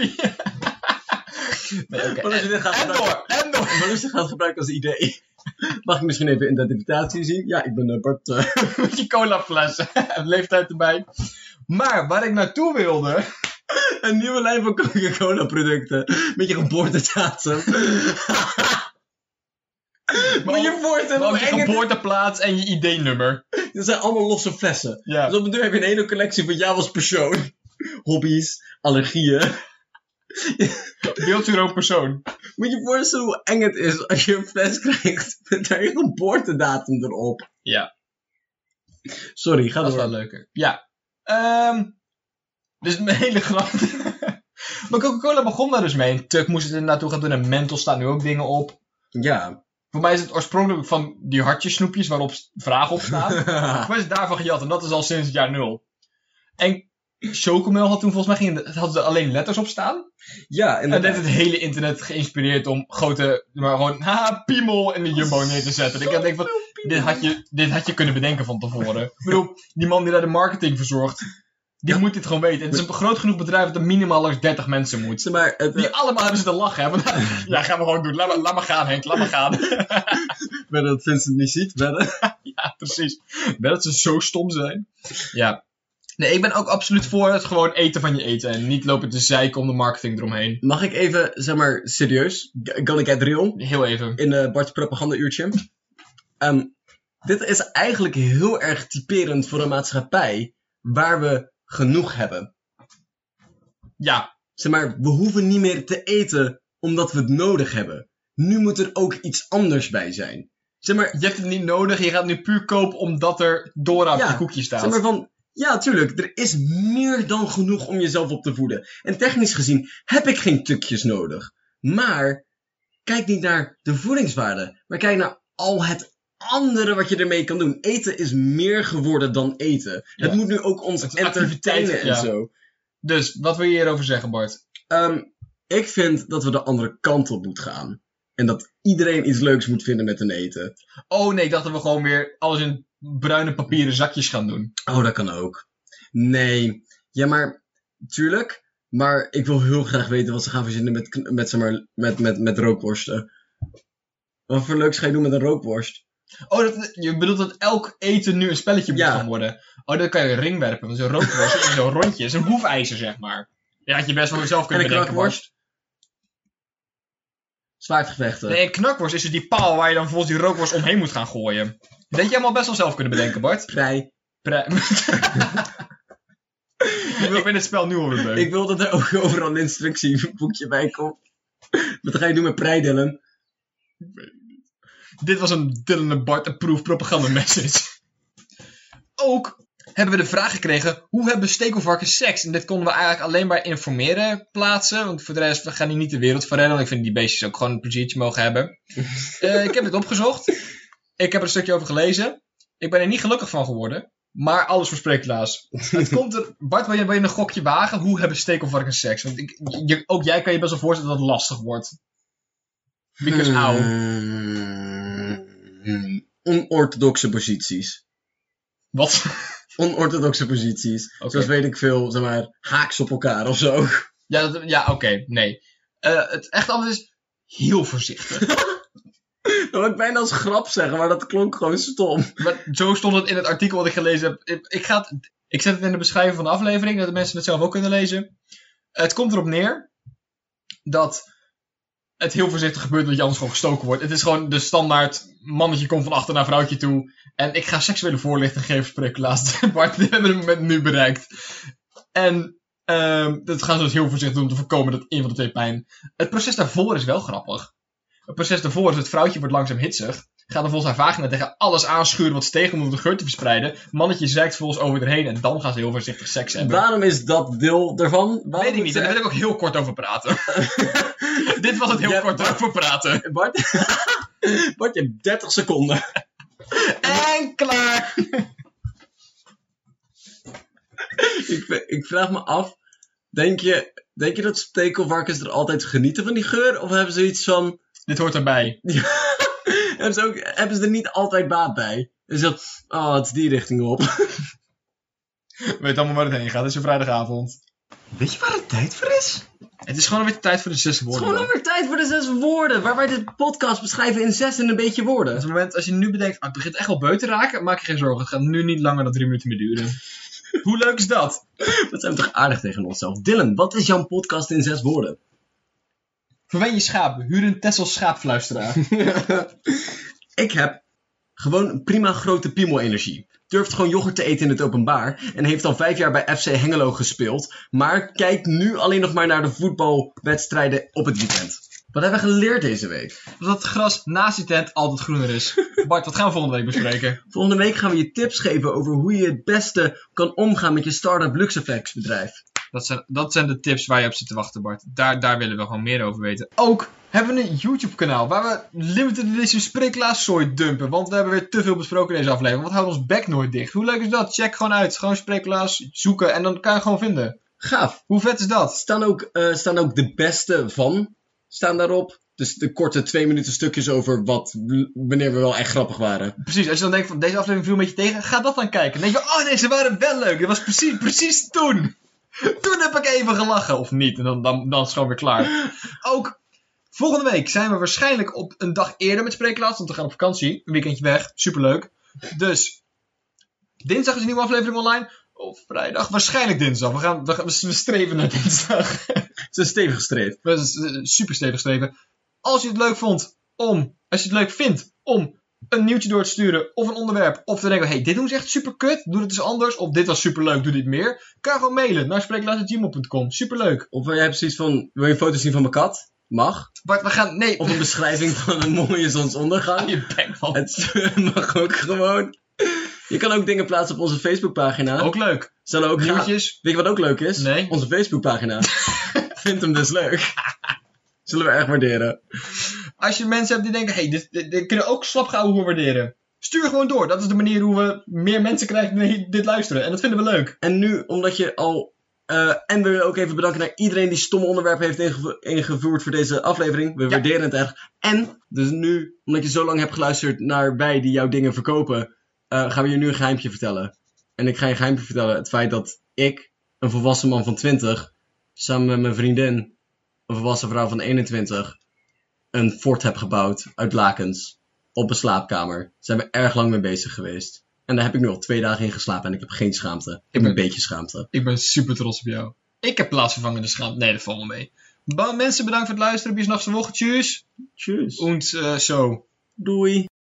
S2: nee, oké.
S1: Wat als je dit gaat
S2: En
S1: gebruiken?
S2: door, en door.
S1: Wat als je dit gaat gebruiken als idee? Mag ik misschien even identificatie zien? Ja, ik ben eh, Bart. eh,
S2: Met je colaflessen. En leeftijd erbij. Maar waar ik naartoe wilde...
S1: Een nieuwe lijn van Coca-Cola producten. Met je geboortedatum. Moet je voorstellen
S2: Maar
S1: hoe
S2: ook je
S1: eng het is?
S2: geboorteplaats en je ID-nummer.
S1: Dat zijn allemaal losse flessen.
S2: Ja.
S1: Dus op de deur heb je een hele collectie van jou als persoon. Hobby's, allergieën.
S2: Beeld u er ook persoon.
S1: Moet je voorstellen hoe eng het is als je een fles krijgt met daar je geboortedatum erop.
S2: Ja.
S1: Sorry, ga
S2: Dat is wel
S1: door.
S2: leuker. Ja. Ehm dus een hele grap. maar Coca-Cola begon daar dus mee. En Tuck moest het er naartoe gaan doen. En Mentos staan nu ook dingen op.
S1: Ja.
S2: Voor mij is het oorspronkelijk van die hartjes snoepjes waarop vragen op staan. Voor mij is het daarvan gejat. En dat is al sinds het jaar nul. En Chocomel had toen volgens mij ging, het had er alleen letters op staan.
S1: Ja,
S2: En dat
S1: inderdaad.
S2: heeft het hele internet geïnspireerd om grote, maar gewoon, haha, piemel in de jumbo neer te zetten. Ik denk van, dit had, je, dit had je kunnen bedenken van tevoren. Ik bedoel, die man die daar de marketing verzorgt, die
S1: Ja.
S2: moet dit gewoon weten. Het is een groot genoeg bedrijf dat er minimaal langs 30 mensen moet.
S1: Zeg maar, het,
S2: Die allemaal hebben zitten lachen. Hè? Van, ja, gaan we gewoon doen. Laat maar, laat maar gaan, Henk. Laat maar gaan.
S1: bij dat Vincent niet ziet, bij de-
S2: Ja, precies. Wel dat ze zo stom zijn. Ja. Nee, ik ben ook absoluut voor het gewoon eten van je eten. En niet lopen te zeiken om de marketing eromheen.
S1: Mag ik even, zeg maar, serieus? G- Gonna get real?
S2: Heel even.
S1: in eh Bart's propagandauurtje. Ehm dit is eigenlijk heel erg typerend voor een maatschappij waar we genoeg hebben.
S2: Ja,
S1: Zeg maar, we hoeven niet meer te eten omdat we het nodig hebben. Nu moet er ook iets anders bij zijn. Zeg maar,
S2: je hebt het niet nodig. Je gaat nu puur kopen omdat er Dora op
S1: Ja,
S2: je koekje staat.
S1: zeg maar van, ja tuurlijk, er is meer dan genoeg om jezelf op te voeden. En technisch gezien heb ik geen tukjes nodig. Maar kijk niet naar de voedingswaarde, maar kijk naar al het andere wat je ermee kan doen. Eten is meer geworden dan eten.
S2: Ja.
S1: Het moet nu ook ons
S2: Het is een activiteit,
S1: entertainen en
S2: ja.
S1: zo.
S2: Dus, wat wil je hierover zeggen, Bart?
S1: Ehm, ik vind dat we de andere kant op moeten gaan. En dat iedereen iets leuks moet vinden met een eten.
S2: Oh nee, ik dacht dat we gewoon weer alles in bruine papieren zakjes gaan doen.
S1: Oh, dat kan ook. Nee. Ja, maar tuurlijk. Maar ik wil heel graag weten wat ze gaan verzinnen met, kn- met, zeg maar, met, met, met rookworsten. Wat voor leuks ga je doen met een rookworst?
S2: Oh, dat, je bedoelt dat elk eten nu een spelletje moet
S1: Ja.
S2: gaan worden. Oh, dan kan je een ring werpen. want Zo'n rookworst is zo'n rondje. is een hoefijzer, zeg maar. Ja, had je best wel zelf
S1: En
S2: kunnen
S1: een
S2: bedenken, Bart.
S1: knakworst? Zwaardgevechten.
S2: Nee, een knakworst is dus die paal waar je dan volgens die rookworst omheen moet gaan gooien. Dat had je allemaal best wel zelf kunnen bedenken, Bart.
S1: Prei.
S2: Pre- ik ben het spel nu alweer beu.
S1: Ik wil dat er ook overal een instructieboekje bij komt. Wat ga je doen met prei, Dylan?
S2: Dit was een Dylan en Bart approved propaganda message. Ook hebben we de vraag gekregen, hoe hebben stekelvarkens seks? En dit konden we eigenlijk alleen maar informeren plaatsen. Want voor de rest, we gaan hier niet de wereld voor rennen. Want ik vind die beestjes ook gewoon een pleziertje mogen hebben. Eh, ik heb dit opgezocht. Ik heb er een stukje over gelezen. Ik ben er niet gelukkig van geworden. Maar alles voor spreeklaas. Het komt er... Bart, wil je, wil je een gokje wagen? Hoe hebben stekelvarkens seks? Want ik, je- ook jij kan je best wel voorstellen dat het lastig wordt. Because
S1: Eh.
S2: auw.
S1: Hmm. Onorthodoxe posities.
S2: Wat?
S1: Onorthodoxe posities.
S2: Oké.
S1: Zoals weet ik veel, zeg maar, haaks op elkaar of zo.
S2: Ja, dat- ja oké, nee. Eh, het echt antwoord is heel voorzichtig.
S1: Dat wil ik bijna als grap zeggen, maar dat klonk gewoon stom.
S2: maar zo stond het in het artikel wat ik gelezen heb. Ik, ik, ga het- ik zet het in de beschrijving van de aflevering, dat de mensen het zelf ook kunnen lezen. Het komt erop neer dat het heel voorzichtig gebeurt, want je anders gewoon gestoken wordt. Het is gewoon de standaard mannetje komt van achter naar vrouwtje toe. En ik ga seksuele voorlichting geven, spreek laatst. Bart, dit hebben we het moment nu bereikt. En ehm, dat gaan ze dus heel voorzichtig doen om te voorkomen dat een van de twee pijn. Het proces daarvoor is wel grappig. Het proces daarvoor is het vrouwtje wordt langzaam hitsig. Gaat er volgens haar vagina tegen alles aanschuren wat ze tegen moet om de geur te verspreiden. Mannetje zeikt volgens over erheen en dan gaan ze heel voorzichtig seks hebben.
S1: Waarom is dat deel daarvan? Waarom
S2: Weet ik niet, en daar
S1: moet
S2: wil ik ook heel kort over praten. Dit was het heel
S1: Ja,
S2: kort
S1: maar-
S2: over praten.
S1: ze- Bart, Bart, je hebt 30 seconden.
S2: En klaar!
S1: ik, v- ik vraag me af, denk je, denk je dat stekelvarkens er altijd genieten van die geur? Of hebben ze iets van...
S2: Dit hoort erbij.
S1: Hebben ze, ook, hebben ze er niet altijd baat bij? Dus dat, oh, het is die richting op.
S2: Weet allemaal waar het heen gaat. Het is een vrijdagavond.
S1: Weet je waar het tijd voor is?
S2: Het is gewoon weer tijd voor de zes
S1: Het is
S2: woorden.
S1: gewoon
S2: man.
S1: alweer tijd voor de zes woorden, waar wij dit podcast beschrijven in zes en een beetje woorden.
S2: Op het moment, als je nu bedenkt, ah, het begint echt wel beu te raken, maak je geen zorgen. Het gaat nu niet langer dan drie minuten meer duren. Hoe leuk is dat?
S1: Wat zijn we toch aardig tegen onszelf. Dylan, wat is jouw podcast in zes woorden?
S2: Verwen je schaap. Huur een Tessel schaapfluisteraar.
S1: ik heb gewoon prima grote piemel-energie. Durft gewoon yoghurt te eten in het openbaar. En heeft al vijf jaar bij FC Hengelo gespeeld. Maar kijkt nu alleen nog maar naar de voetbalwedstrijden op het weekend. Wat hebben we geleerd deze week?
S2: Dat het gras naast je tent altijd groener is. Bart, wat gaan we volgende week bespreken?
S1: Volgende week gaan we je tips geven over hoe je het beste kan omgaan met je Startup Luxeflex bedrijf.
S2: Dat zijn, dat zijn de tips waar je op zit te wachten, Bart. Daar, daar willen we gewoon meer over weten. Ook hebben we een YouTube-kanaal waar we limited edition spreeklaaszooi dumpen. Want we hebben weer te veel besproken in deze aflevering. Want houdt ons bek nooit dicht. Hoe leuk is dat? Check gewoon uit. Gewoon spreeklaas zoeken en dan kan je gewoon vinden.
S1: Gaaf.
S2: Hoe vet is dat?
S1: Staan ook, eh, staan ook de beste van staan daarop. Dus de korte twee minuten stukjes over wat, wanneer we wel echt grappig waren.
S2: Precies, als je dan denkt van deze aflevering viel een beetje tegen, ga dat dan kijken. Dan denk je, oh deze waren wel leuk. Dat was precies, precies toen. Toen heb ik even gelachen. Of niet, en dan, dan, dan is het gewoon weer klaar. Ook volgende week zijn we waarschijnlijk op een dag eerder met Spreeklaas. Want we gaan op vakantie, een weekendje weg. Superleuk. Dus, dinsdag is een nieuwe aflevering online. Of vrijdag, waarschijnlijk dinsdag. We, gaan, we, gaan- we streven naar dinsdag.
S1: Het is een stevige streep.
S2: Dat is eh, super stevig streven. Als je het leuk vond om, als je het leuk vindt om een nieuwtje door te sturen of een onderwerp. Of te denken, hey, dit doen ze echt super kut, doe het eens anders. Of dit was super leuk, doe dit meer. Kan je gewoon mailen naar spreeklaas.gmail.com. Super leuk.
S1: Of jij hebt zoiets van, wil je foto's zien van mijn kat? Mag.
S2: Bart, we gaan, nee,
S1: Of een beschrijving van een mooie zonsondergang.
S2: je bek man.
S1: Het mag ook gewoon. Je kan ook dingen plaatsen op onze Facebookpagina.
S2: Ook leuk.
S1: Zullen we ook gaan. Weet
S2: Nieuwtjes.
S1: je wat ook leuk is?
S2: Nee.
S1: Onze Facebookpagina. Vindt hem dus leuk. Zullen we echt waarderen.
S2: Als je mensen hebt die denken, hey, dit, dit, dit kunnen we ook slapgauw hoe waarderen. Stuur gewoon door. Dat is de manier hoe we meer mensen krijgen die dit luisteren. En dat vinden we leuk.
S1: En nu, omdat je al. eh, en we willen ook even bedanken naar iedereen die stomme onderwerpen heeft ingevo- ingevoerd voor deze aflevering. We waarderen het erg. En, dus nu, omdat je zo lang hebt geluisterd naar wij die jouw dingen verkopen, eh, gaan we je nu een geheimtje vertellen. En ik ga je een geheimtje vertellen. Het feit dat ik, een volwassen man van 20, samen met mijn vriendin, een volwassen vrouw van 21, een fort heb gebouwd uit lakens op een slaapkamer. Daar zijn we erg lang mee bezig geweest. En daar heb ik nu al twee dagen in geslapen en ik heb geen schaamte. Ik heb een beetje schaamte.
S2: Ik ben super trots op jou. Ik heb plaatsvervangende schaamte. Nee, dat valt wel mee. Ba- mensen, bedankt voor het luisteren. Bis nachts en wochen. Tjus.
S1: Tjus.
S2: Und äh, so.
S1: Doei.